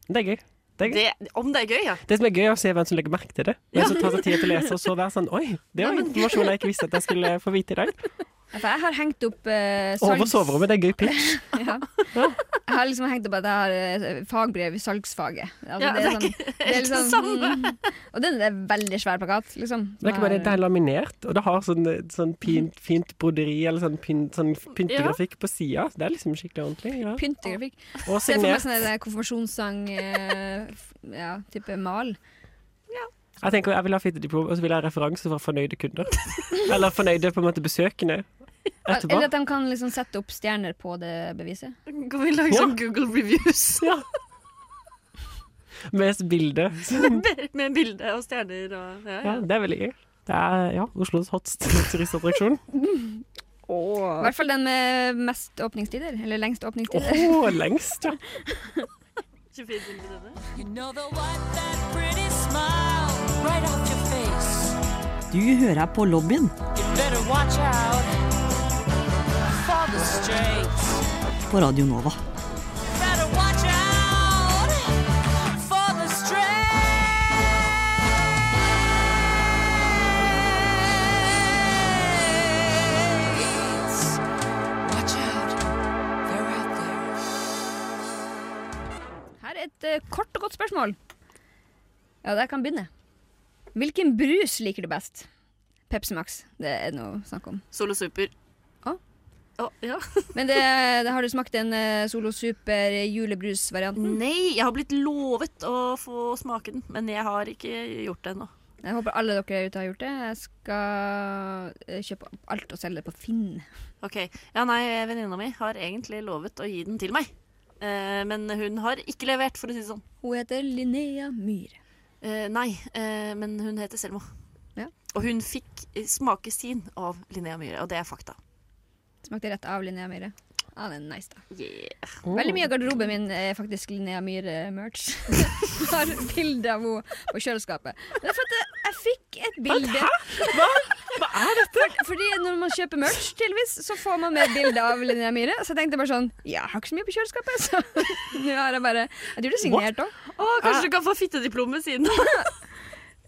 [SPEAKER 3] Det er gøy. Det, er gøy. Det,
[SPEAKER 4] Det, om det er gøy, ja.
[SPEAKER 3] som er gøy, er å se hvem som legger merke til det. Hvem som tar seg tid til å lese, og så være sånn Oi, det var informasjon jeg ikke visste at jeg skulle få vite
[SPEAKER 2] (laughs)
[SPEAKER 3] i dag.
[SPEAKER 2] Ja, For jeg har hengt opp eh,
[SPEAKER 3] Over
[SPEAKER 2] salgs-
[SPEAKER 3] soverommet, det er gøy pitch.
[SPEAKER 2] Ja. Jeg har liksom hengt opp at jeg har eh, fagbrev i salgsfaget. Altså,
[SPEAKER 4] Ja,
[SPEAKER 2] det er sånn,
[SPEAKER 4] det er
[SPEAKER 2] det er
[SPEAKER 4] helt
[SPEAKER 2] liksom, (laughs) og den er veldig svær plakat, liksom.
[SPEAKER 3] Det er ikke bare det, det er laminert, og det har sånn, eh, sånn pint, fint broderi eller sånn, pynt- sånn pyntegrafikk på sida. Det er liksom skikkelig ordentlig. Ja.
[SPEAKER 2] Pyntegrafikk.
[SPEAKER 3] Og
[SPEAKER 2] Se for meg
[SPEAKER 3] signert.
[SPEAKER 2] sånn der konfirmasjonssang, eh, f- ja, type mal.
[SPEAKER 3] Jeg tenker jeg vil ha fint diplom, og så vil jeg ha referanse fra fornøyde kunder.
[SPEAKER 2] (laughs)
[SPEAKER 3] Eller fornøyde på en måte besøkende etterpå.
[SPEAKER 2] Eller at de kan liksom sette opp stjerner på det beviset.
[SPEAKER 4] Kan vi lage
[SPEAKER 3] Ja.
[SPEAKER 4] sånn Google reviews
[SPEAKER 3] Ja. Med bilde.
[SPEAKER 4] (laughs) med bilde og stjerner og ja, ja.
[SPEAKER 3] Ja, det er veldig gøy. Det er ja, Oslos hotteste turistattraksjon.
[SPEAKER 2] I hvert fall den med mest åpningstider. Eller lengst
[SPEAKER 3] Åh,
[SPEAKER 2] åpningstider.
[SPEAKER 3] lengst, ja.
[SPEAKER 4] 24 timer i døgnet.
[SPEAKER 6] Du hører her på lobbyen. På Radio Nova.
[SPEAKER 2] (laughs) Her er et eh, kort og godt spørsmål. Ja, der kan begynne. Hvilken brus liker du best? Pepsi Max. Det er noe å snakke om.
[SPEAKER 4] Solo Super.
[SPEAKER 2] Å.
[SPEAKER 4] Å, ja. (laughs)
[SPEAKER 2] Men det, (laughs) det har du smakt den eh, Solo Super julebrusvarianten?
[SPEAKER 4] Nei, jeg har blitt lovet å få smake den, men jeg har ikke gjort det ennå.
[SPEAKER 2] Jeg håper alle dere der ute har gjort det. Jeg skal eh, kjøpe opp alt og selge det på Finn.
[SPEAKER 4] Ok, ja nei, Venninna mi har egentlig lovet å gi den til meg, eh, men hun har ikke levert, for å si det sånn.
[SPEAKER 2] Hun heter Linnea Myhre.
[SPEAKER 4] Eh, nei, eh, men hun heter Selma.
[SPEAKER 2] Ja.
[SPEAKER 4] Og hun fikk eh, smake sin av Linnea Myhre, og det er fakta.
[SPEAKER 2] Smakte rett av Linnea Myhre. Ja, den er nice, da.
[SPEAKER 4] Yeah.
[SPEAKER 2] Veldig mye av garderoben min er faktisk Linnea Myhre-merch. (laughs) Jeg har bilde av henne på kjøleskapet. Det er for at jeg- jeg fikk et bilde
[SPEAKER 3] Hva er dette?
[SPEAKER 2] Fordi når man kjøper merch, tydeligvis, så får man med et bilde av Linnea Myhre. Så jeg tenkte bare sånn Ja, jeg har ikke så mye på kjøleskapet, så (laughs) nå har jeg bare Jeg tror det er signert òg.
[SPEAKER 4] Å, kanskje du kan få fittediplomet siden.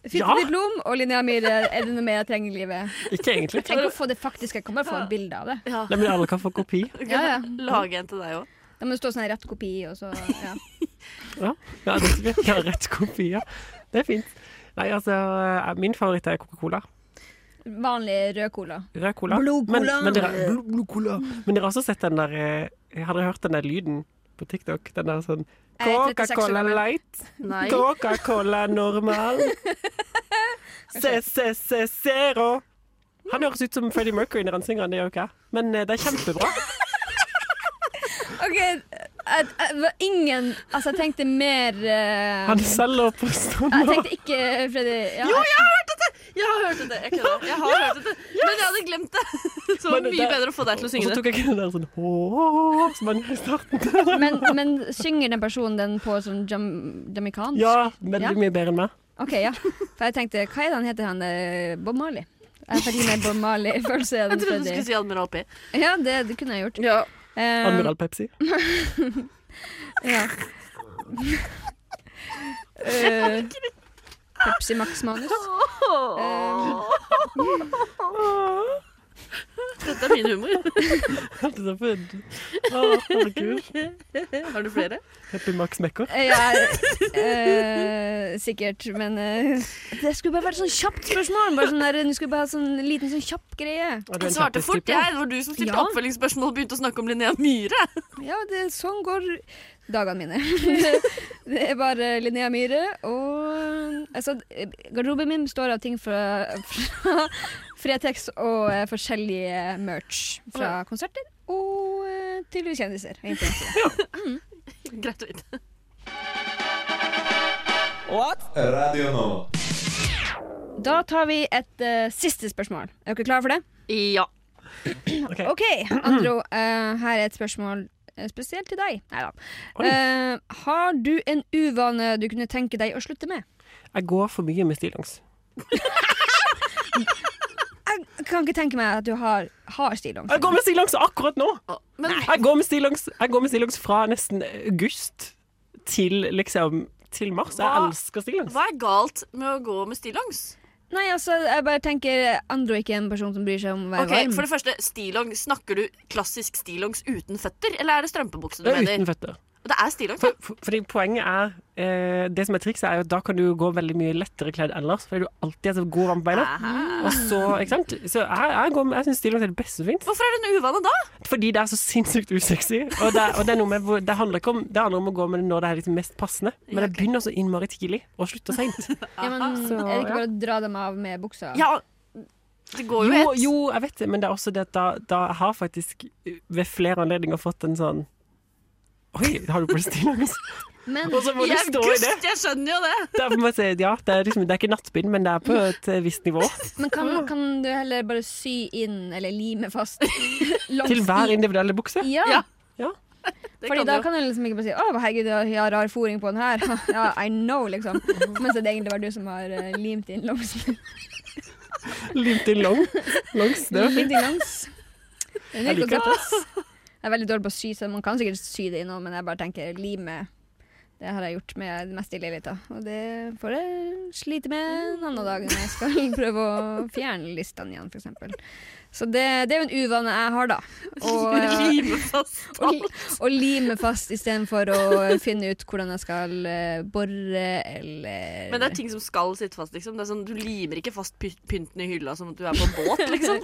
[SPEAKER 2] Fint
[SPEAKER 3] Ja.
[SPEAKER 2] diplom og Linnea Myhre. Er det noe mer jeg trenger i livet?
[SPEAKER 3] Ikke egentlig.
[SPEAKER 2] Jeg trenger ikke å få det faktisk, jeg kan bare få et bilde av det.
[SPEAKER 4] ja.
[SPEAKER 3] Nei, men alle kan få kopi.
[SPEAKER 2] Ja,
[SPEAKER 4] (laughs)
[SPEAKER 2] ja.
[SPEAKER 4] Lage en til deg òg.
[SPEAKER 2] Da må det stå sånn rett kopi, og så ja.
[SPEAKER 3] Ja, ja det skal vi. Ja, rett kopi, ja. Det er fint. Nei, altså, eh, min favoritt er Coca-Cola.
[SPEAKER 2] Vanlig rød cola.
[SPEAKER 3] Rød cola. Men, men, dere, blod, blod cola. men dere har også sett den der eh, Har dere hørt den der lyden på TikTok? Den der sånn
[SPEAKER 2] Jeg er 36 år
[SPEAKER 3] Coca-Cola
[SPEAKER 2] gammel.
[SPEAKER 3] light.
[SPEAKER 4] Nei.
[SPEAKER 3] Coca-Cola normal. CCC-zero. Han høres ut som Freddie Mercury når han synger, han, det gjør jo ikke jeg. Men eh, det er kjempebra.
[SPEAKER 2] OK, jeg, jeg var ingen Altså, jeg tenkte mer eh,
[SPEAKER 3] Han selger på
[SPEAKER 2] Jeg
[SPEAKER 3] standard.
[SPEAKER 2] tenkte ikke Freddy ja,
[SPEAKER 4] Jo, jeg har hørt dette! Jeg har hørt dette, jeg kødder. Jeg har hørt dette, men jeg hadde glemt det. (laughs) Så det var
[SPEAKER 3] Men det-
[SPEAKER 4] mye bedre å få deg til
[SPEAKER 3] Og
[SPEAKER 4] å
[SPEAKER 3] så
[SPEAKER 4] synge det.
[SPEAKER 3] tok jeg ikke den der sånn «Åh», som man gjør i starten.
[SPEAKER 2] Men, men synger den personen den på sånn jam, jamaicansk?
[SPEAKER 3] Ja, veldig
[SPEAKER 2] Ja.
[SPEAKER 3] mye bedre enn meg.
[SPEAKER 2] Å OK, ja. For jeg tenkte, hva er det han heter, han eh, Bob Marley? Jeg fikk litt mer Bob Marley-følelse enn
[SPEAKER 4] (laughs) Jeg trodde du
[SPEAKER 2] Freddy.
[SPEAKER 4] skulle si Admiral P.
[SPEAKER 2] Ja, det, det kunne jeg gjort.
[SPEAKER 4] Ja.
[SPEAKER 2] Eh,
[SPEAKER 3] Admiral Pepsi. (laughs)
[SPEAKER 4] (laughs)
[SPEAKER 2] Ja. Eh, Pepsi Max-manus. Eh,
[SPEAKER 4] Dette er min humor.
[SPEAKER 3] Det er for- Å, herregud.
[SPEAKER 4] (laughs) Har du flere?
[SPEAKER 3] Happy Max Mekker.
[SPEAKER 2] jeg er eh, sikkert, men eh, Det skulle bare vært sånn kjapt spørsmål. Bare sånn der, du skulle bare ha sånn liten sånn kjapp greie.
[SPEAKER 3] Ja, du er en
[SPEAKER 4] Jeg svarte
[SPEAKER 3] kjappis
[SPEAKER 4] fort,
[SPEAKER 3] type, ja.
[SPEAKER 4] jeg. Det var du som stilte
[SPEAKER 2] Ja.
[SPEAKER 4] oppfølgingsspørsmål og begynte å snakke om Linnea Myhre. (laughs)
[SPEAKER 2] Ja, det, sånn går dagene mine. (laughs) det er bare Linnea Myhre og altså, Garderoben min består av ting fra, fra Fretex og eh, forskjellige merch fra konserter og eh, tydeligvis kjendiser. egentlig.
[SPEAKER 4] Greit å vite.
[SPEAKER 7] Radio Nova.
[SPEAKER 2] Da tar vi et eh, siste spørsmål. Er dere klare for det?
[SPEAKER 4] Ja.
[SPEAKER 3] Ok.
[SPEAKER 2] OK, Andro. eh, her er et spørsmål eh, spesielt til deg. Nei da.
[SPEAKER 3] Oi.
[SPEAKER 2] Eh, har du en uvane du kunne tenke deg å slutte med?
[SPEAKER 3] Jeg går for mye med stillongs.
[SPEAKER 2] Jeg kan ikke tenke meg at du har, har stillongs.
[SPEAKER 3] Jeg går med stillongs akkurat nå!
[SPEAKER 4] Å, Men
[SPEAKER 3] Jeg går med stillongs, jeg går med stillongs fra nesten august til liksom til mars. Jeg
[SPEAKER 4] Hva?
[SPEAKER 3] elsker stillongs.
[SPEAKER 4] hva er galt med å gå med stillongs?
[SPEAKER 2] Nei, altså, jeg bare tenker Andro er ikke en person som bryr seg om å være
[SPEAKER 4] Ok,
[SPEAKER 2] varm.
[SPEAKER 4] For det første, stillong. Snakker du klassisk stillongs uten føtter, eller er det strømpebukse du
[SPEAKER 3] Det er uten
[SPEAKER 4] mener?
[SPEAKER 3] føtter.
[SPEAKER 4] Det er stillongs,
[SPEAKER 3] For,
[SPEAKER 4] da.
[SPEAKER 3] for, fordi poenget er eh, Det som er trikset, er jo at da kan du gå veldig mye lettere kledd ellers, fordi du alltid er så god varm på beina.
[SPEAKER 4] Hæ?
[SPEAKER 3] Og så, ikke sant? Så jeg, jeg, går med- jeg syns stillongs er det beste som fins.
[SPEAKER 4] Hvorfor er det en uvane da?
[SPEAKER 3] Fordi det er så sinnssykt usexy. Og det, og det, er noe med, hvor- det, handler ikke om, det handler om å gå med det når det er liksom mest passende. Men det begynner så innmari tidlig og slutter seint.
[SPEAKER 2] ja, men,
[SPEAKER 3] så,
[SPEAKER 2] er det ikke
[SPEAKER 3] ja.
[SPEAKER 2] bare å dra dem av med buksa?
[SPEAKER 4] Ja, det går jo
[SPEAKER 3] Jo,
[SPEAKER 4] ett.
[SPEAKER 3] jo, jeg vet det, men det er også det at da, da jeg har faktisk eh, ved flere anledninger fått en sånn Oi, har du på deg stillongs? (laughs)
[SPEAKER 2] Men,
[SPEAKER 3] Og så må
[SPEAKER 4] I
[SPEAKER 3] du stå i det.
[SPEAKER 4] august, jeg skjønner jo det.
[SPEAKER 3] Det er, på en måte- ja, det er, liksom, det er ikke nattbind, men det er på et eh, visst nivå.
[SPEAKER 2] men kan, kan du heller bare sy inn, eller lime
[SPEAKER 3] (laughs)
[SPEAKER 2] fast, (laughs) langs
[SPEAKER 3] Til hver
[SPEAKER 2] i-
[SPEAKER 3] individuelle bukse.
[SPEAKER 2] Ja,
[SPEAKER 4] Ja, Det
[SPEAKER 2] fordi
[SPEAKER 4] kan
[SPEAKER 2] da
[SPEAKER 4] du jo.
[SPEAKER 2] kan du liksom ikke bare si 'Å, herregud, jeg har rar fôring på den her'. (laughs) ja, I know, liksom. Mens det egentlig var du som har eh, limt inn langs.
[SPEAKER 3] Limt inn lang, langs. Det var fint.
[SPEAKER 2] limt inn langs. Det er
[SPEAKER 3] Jeg
[SPEAKER 2] nytt
[SPEAKER 3] liker
[SPEAKER 2] konsept, ass. Jeg er veldig dårlig på å sy, så man kan sikkert sy det inn òg, men jeg bare tenker lime. Det har jeg gjort med det meste i livet mitt, da. Og det får jeg slite med en annen dag når jeg skal (laughs) prøve å fjerne listene igjen, f.eks. Så det, det er jo en uvane jeg har, da. (laughs) Og,
[SPEAKER 4] Lime fast
[SPEAKER 2] å li- å lime fast istedenfor å eh, finne ut hvordan jeg skal eh, bore eller
[SPEAKER 4] Men det er ting som skal sitte fast, liksom. Det er sånn, du limer ikke fast py- pynten i hylla som at du er på
[SPEAKER 3] (laughs)
[SPEAKER 4] båt, liksom.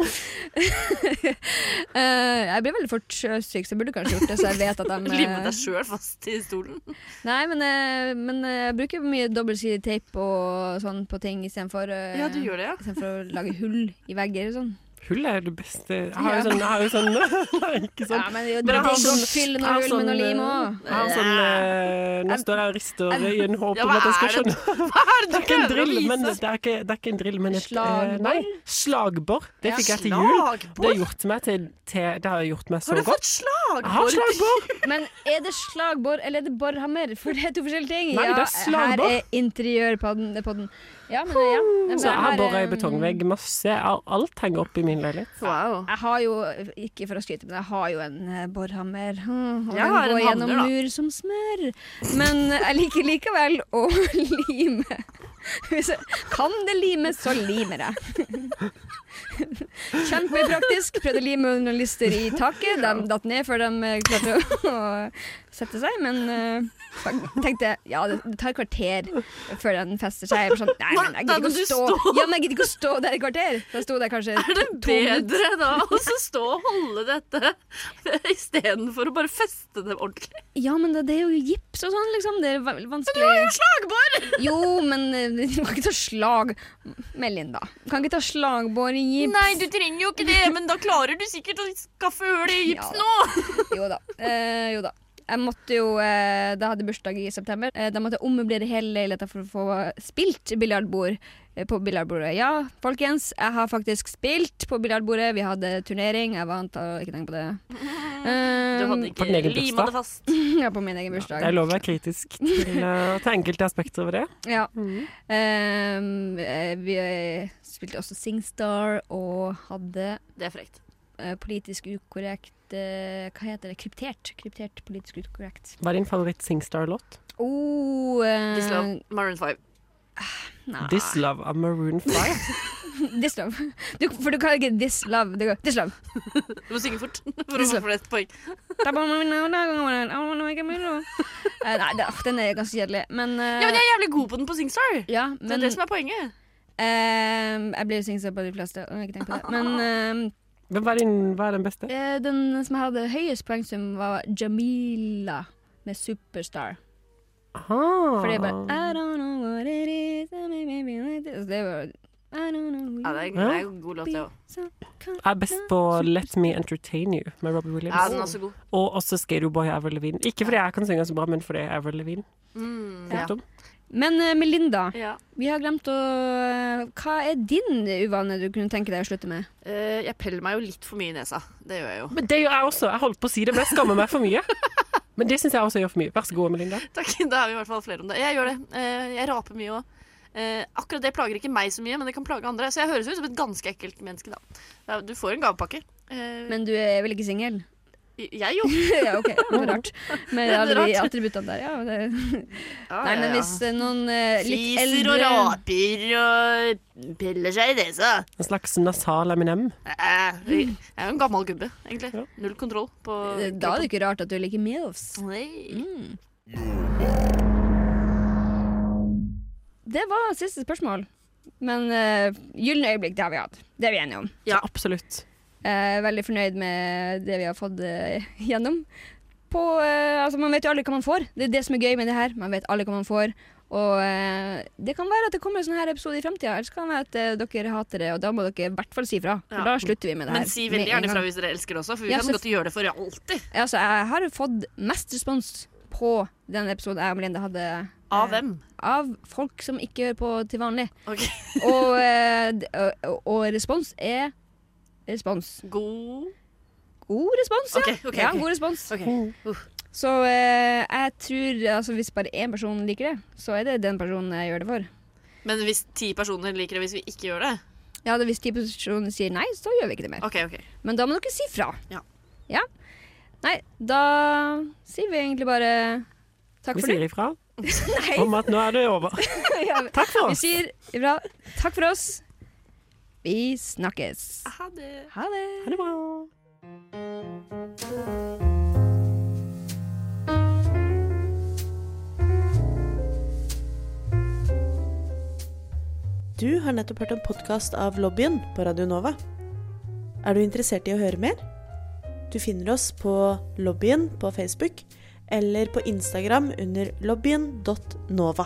[SPEAKER 2] Eh, jeg blir veldig fort sjøsyk, så jeg burde kanskje gjort det, så jeg vet at de
[SPEAKER 4] (laughs) Lime
[SPEAKER 2] eh,
[SPEAKER 4] deg sjøl fast i stolen.
[SPEAKER 2] Nei, men, eh, men eh, jeg bruker mye dobbeltsidig teip og sånn på ting istedenfor eh,
[SPEAKER 4] Ja, du gjør det, ja.
[SPEAKER 2] Istedenfor å lage hull i vegger og sånn.
[SPEAKER 3] Hull er jo det beste. Jeg har jo sånn, jeg har jo sånn (laughs) Nei, Ikke
[SPEAKER 2] Ja,
[SPEAKER 3] sånn.
[SPEAKER 2] men det er jo
[SPEAKER 3] Men jeg
[SPEAKER 2] digg
[SPEAKER 3] har
[SPEAKER 2] å
[SPEAKER 3] sånn-
[SPEAKER 2] fylle
[SPEAKER 3] jeg
[SPEAKER 2] noe
[SPEAKER 3] har
[SPEAKER 2] hull med noe
[SPEAKER 3] sånn,
[SPEAKER 2] lim
[SPEAKER 3] eh,
[SPEAKER 2] òg.
[SPEAKER 3] Jeg har sånn eh, Nå står jeg og rister i en håp
[SPEAKER 4] Ja,
[SPEAKER 3] om
[SPEAKER 4] hva
[SPEAKER 3] at jeg skal
[SPEAKER 4] er det-
[SPEAKER 3] skjønne.
[SPEAKER 4] Hva
[SPEAKER 3] Det
[SPEAKER 4] er det du
[SPEAKER 3] er ikke en
[SPEAKER 4] prøver å
[SPEAKER 3] drill, men
[SPEAKER 4] vise?
[SPEAKER 3] det er ikke, det er ikke en drill, men et eh,
[SPEAKER 2] Slagbor?
[SPEAKER 3] Nei. Slagbor. Det
[SPEAKER 2] Ja.
[SPEAKER 3] fikk jeg til jul. Det
[SPEAKER 4] Slagbor?
[SPEAKER 3] har gjort meg til, til Det har gjort meg så
[SPEAKER 4] Har du
[SPEAKER 3] godt.
[SPEAKER 4] fått
[SPEAKER 3] Jeg har
[SPEAKER 4] slagbor? (laughs)
[SPEAKER 3] slagbor!
[SPEAKER 2] Men er det slagbor eller er det borhammer? For det er to forskjellige ting.
[SPEAKER 3] Nei, det er
[SPEAKER 2] her
[SPEAKER 3] slagbor.
[SPEAKER 2] er interiørpodden. det er podden. Ja, men eh, ja. Men
[SPEAKER 3] Så Altså, jeg har bora i
[SPEAKER 2] eh,
[SPEAKER 3] betongvegg masse. Jeg har- Alt henger opp i min leilighet.
[SPEAKER 4] Wow.
[SPEAKER 2] Jeg har jo, ikke for å skryte, men jeg har jo en eh, borhammer. Hmm, Og
[SPEAKER 4] Jeg
[SPEAKER 2] den
[SPEAKER 4] har en
[SPEAKER 2] går gjennom
[SPEAKER 4] hammer, da.
[SPEAKER 2] mur som smør. Men jeg liker likevel å (laughs) lime. Hvis jeg kan det limes, så limer jeg. (laughs) Kjempepraktisk. Prøvde å lime under noen lister i taket. De datt ned før de eh, klarte å (laughs) sette seg, men eh, jeg tenkte ja, det det tar et kvarter før den fester seg. Jeg var sånn, nei, men jeg
[SPEAKER 4] Da
[SPEAKER 2] gidder
[SPEAKER 4] må du
[SPEAKER 2] ikke å stå.
[SPEAKER 4] stå.
[SPEAKER 2] Ja, men jeg gidder ikke å stå der i kvarter. Så jeg sto der kanskje
[SPEAKER 4] Er det
[SPEAKER 2] to minutter.
[SPEAKER 4] bedre da å så stå og holde dette (laughs) istedenfor å bare feste det ordentlig?
[SPEAKER 2] Ja, men det, det er jo gips og sånn, liksom. Det er va- vanskelig Men du har jo slagbor! Jo, men eh, (laughs) du kan ikke ta slag Melinda. Du kan ikke ta slagbor i gips.
[SPEAKER 4] Nei, du trenger jo ikke det, men da klarer du sikkert å skaffe hull i
[SPEAKER 2] Ja.
[SPEAKER 4] gipsen òg.
[SPEAKER 2] (laughs) Jo da. Eh, jo da. Jeg måtte jo, eh, Da jeg hadde bursdag i september, eh, da måtte jeg ommøblere hele leiligheten for å få spilt biljardbord eh, på biljardbordet. Ja, folkens, jeg har faktisk spilt på biljardbordet. Vi hadde turnering. Jeg vant og ikke tenk på det.
[SPEAKER 4] Du
[SPEAKER 2] Um,
[SPEAKER 4] hadde
[SPEAKER 3] Ehm, På den
[SPEAKER 4] ikke
[SPEAKER 3] egen
[SPEAKER 4] lima
[SPEAKER 3] bursdag.
[SPEAKER 4] det fast.
[SPEAKER 2] Ehm, ja, på min egen bursdag.
[SPEAKER 3] Det er lov å være kritisk til,
[SPEAKER 4] (laughs)
[SPEAKER 3] eh, til enkelte aspekter over det.
[SPEAKER 2] Ja. Ehm, eh, vi eh, spilte også Singstar og hadde
[SPEAKER 4] Det er frekt.
[SPEAKER 2] eh, politisk ukorrekt eh, Hva heter det? Kryptert. Kryptert politisk ukorrekt.
[SPEAKER 3] Hva er din favoritt-Singstar-låt?
[SPEAKER 2] Oh, eh,
[SPEAKER 4] This
[SPEAKER 3] Ehm.
[SPEAKER 4] Love, Maroon 5. Ah.
[SPEAKER 2] Nei.
[SPEAKER 3] 'This Love av Maroon 5'.
[SPEAKER 2] This love. Du, for du kan ikke This Love. Det går This Love.
[SPEAKER 4] Du må synge fort (laughs) for å
[SPEAKER 2] This
[SPEAKER 4] få
[SPEAKER 2] Love.
[SPEAKER 4] flere poeng.
[SPEAKER 2] Da må man- da må man- da må man- Eh, Nei, det- den er ganske kjedelig, men eh,
[SPEAKER 4] Ja, men jeg er jævlig god på den på Singstar.
[SPEAKER 2] ja,
[SPEAKER 4] Det
[SPEAKER 2] men
[SPEAKER 4] er det som er poenget.
[SPEAKER 2] ehm, Jeg blir singsa på de fleste, og jeg har ikke tenkt på det. Men ehm,
[SPEAKER 3] Men hva er, din, hva er den beste?
[SPEAKER 2] Eh, den som hadde høyest poengsum, var Jamila med Superstar.
[SPEAKER 3] Ah.
[SPEAKER 2] For det er bare I don't know what it is I may be like this. Det var I don't know who
[SPEAKER 4] Ja, det er,
[SPEAKER 3] Ja.
[SPEAKER 4] det er en god låt, det òg.
[SPEAKER 3] Jeg er best på Let Me Entertain You med Robbie
[SPEAKER 4] "Ah, Ja, den er
[SPEAKER 3] Williams.
[SPEAKER 4] også god.
[SPEAKER 3] og også Skaterboy av Avril Lavigne. Ikke fordi jeg kan synge så bra, men fordi Avril Lavigne.
[SPEAKER 4] Mm.
[SPEAKER 2] Ja.
[SPEAKER 3] Punktum.
[SPEAKER 2] Men eh, Melinda,
[SPEAKER 4] Ja.
[SPEAKER 2] vi har glemt å eh, Hva er din uvane du kunne tenke deg å slutte med?
[SPEAKER 4] Eh, jeg peller meg jo litt for mye i nesa. Det gjør jeg jo.
[SPEAKER 3] Men det gjør jeg også. Jeg holdt på å si det, men jeg skammer meg for
[SPEAKER 2] (laughs)
[SPEAKER 3] mye. Men det syns jeg også jeg gjør for mye. Vær så god, Melinda.
[SPEAKER 4] (laughs) Takk, Da er vi i hvert fall flere om det. Jeg gjør det. Eh, jeg raper mye òg. akkurat det plager ikke meg så mye, men det kan plage andre. Så jeg høres ut som et ganske ekkelt menneske, da. Ja, Du får en gavepakke. Eh,
[SPEAKER 2] Men du er vel ikke singel? (laughs)
[SPEAKER 4] jeg jo.
[SPEAKER 2] ja, OK. Det er rart. Med
[SPEAKER 4] Det er
[SPEAKER 2] alle de
[SPEAKER 4] rart.
[SPEAKER 2] attributtene der. Ja, det.
[SPEAKER 4] Ja,
[SPEAKER 2] (laughs) Nei,
[SPEAKER 4] ja,
[SPEAKER 2] men
[SPEAKER 4] ja.
[SPEAKER 2] hvis eh, noen eh, litt
[SPEAKER 4] Fiser og
[SPEAKER 2] eldre
[SPEAKER 4] raper og piller seg i nesa.
[SPEAKER 3] En slags nasal M&M. Eminem.
[SPEAKER 4] Eh, Jeg er jo en gammel gubbe, egentlig.
[SPEAKER 3] Ja.
[SPEAKER 4] Null kontroll på
[SPEAKER 2] eh, Da er det ikke rart at du liker Milfs.
[SPEAKER 4] Nei.
[SPEAKER 2] Det var siste spørsmål. Men uh, gylne øyeblikk, det har vi hatt. Det er vi enige om.
[SPEAKER 4] Ja.
[SPEAKER 3] Absolutt.
[SPEAKER 2] Jeg er veldig fornøyd med det vi har fått eh, (laughs) gjennom. På, eh, altså, man vet jo aldri hva man får. Det er det som er gøy med det her. Man vet aldri hva man får. Og eh, det kan være at det kommer en sånn her episode i fremtida. Ellers kan det være at eh, dere hater det, og da må dere i hvert fall si fra. For
[SPEAKER 4] Ja.
[SPEAKER 2] da slutter vi med det her.
[SPEAKER 4] Men si veldig
[SPEAKER 2] med en
[SPEAKER 4] gjerne fra
[SPEAKER 2] gang.
[SPEAKER 4] hvis dere elsker det også, for vi
[SPEAKER 2] Ja,
[SPEAKER 4] kan
[SPEAKER 2] så-
[SPEAKER 4] godt gjøre det for alltid.
[SPEAKER 2] Altså, jeg har jo fått mest respons på den episoden jeg og Melinda hadde.
[SPEAKER 4] Av hvem?
[SPEAKER 2] Av folk som ikke hører på til vanlig.
[SPEAKER 4] Ok.
[SPEAKER 2] (laughs) Og, eh, d- og, og respons er respons.
[SPEAKER 4] God
[SPEAKER 2] God respons, ja.
[SPEAKER 4] Ok, ok,
[SPEAKER 2] ja
[SPEAKER 4] ok.
[SPEAKER 2] god respons.
[SPEAKER 4] OK.
[SPEAKER 2] Så eh, jeg tror altså, hvis bare én person liker det, så er det den personen jeg gjør det for.
[SPEAKER 4] Men hvis ti personer liker det hvis vi ikke gjør det?
[SPEAKER 2] Ja, det- Hvis ti personer sier nei, så gjør vi ikke det mer.
[SPEAKER 4] OK, OK.
[SPEAKER 2] Men da må dere si fra.
[SPEAKER 4] Ja.
[SPEAKER 2] Ja. Nei, da sier vi egentlig bare takk
[SPEAKER 3] Vi
[SPEAKER 2] for
[SPEAKER 3] sier
[SPEAKER 2] nå.
[SPEAKER 3] ifra
[SPEAKER 2] (laughs) Nei.
[SPEAKER 3] om at nå er det over.
[SPEAKER 2] (laughs) Ja,
[SPEAKER 3] Takk for
[SPEAKER 2] vi
[SPEAKER 3] oss.
[SPEAKER 2] sier ifra. Takk for oss. Vi snakkes.
[SPEAKER 4] Ha det.
[SPEAKER 2] Ha det.
[SPEAKER 3] Ha det bra.
[SPEAKER 1] Du har nettopp hørt en podkast av Lobbyen på Radio Nova. Er du interessert i å høre mer? Du finner oss på Lobbyen på Facebook eller på Instagram under lobbyen.nova.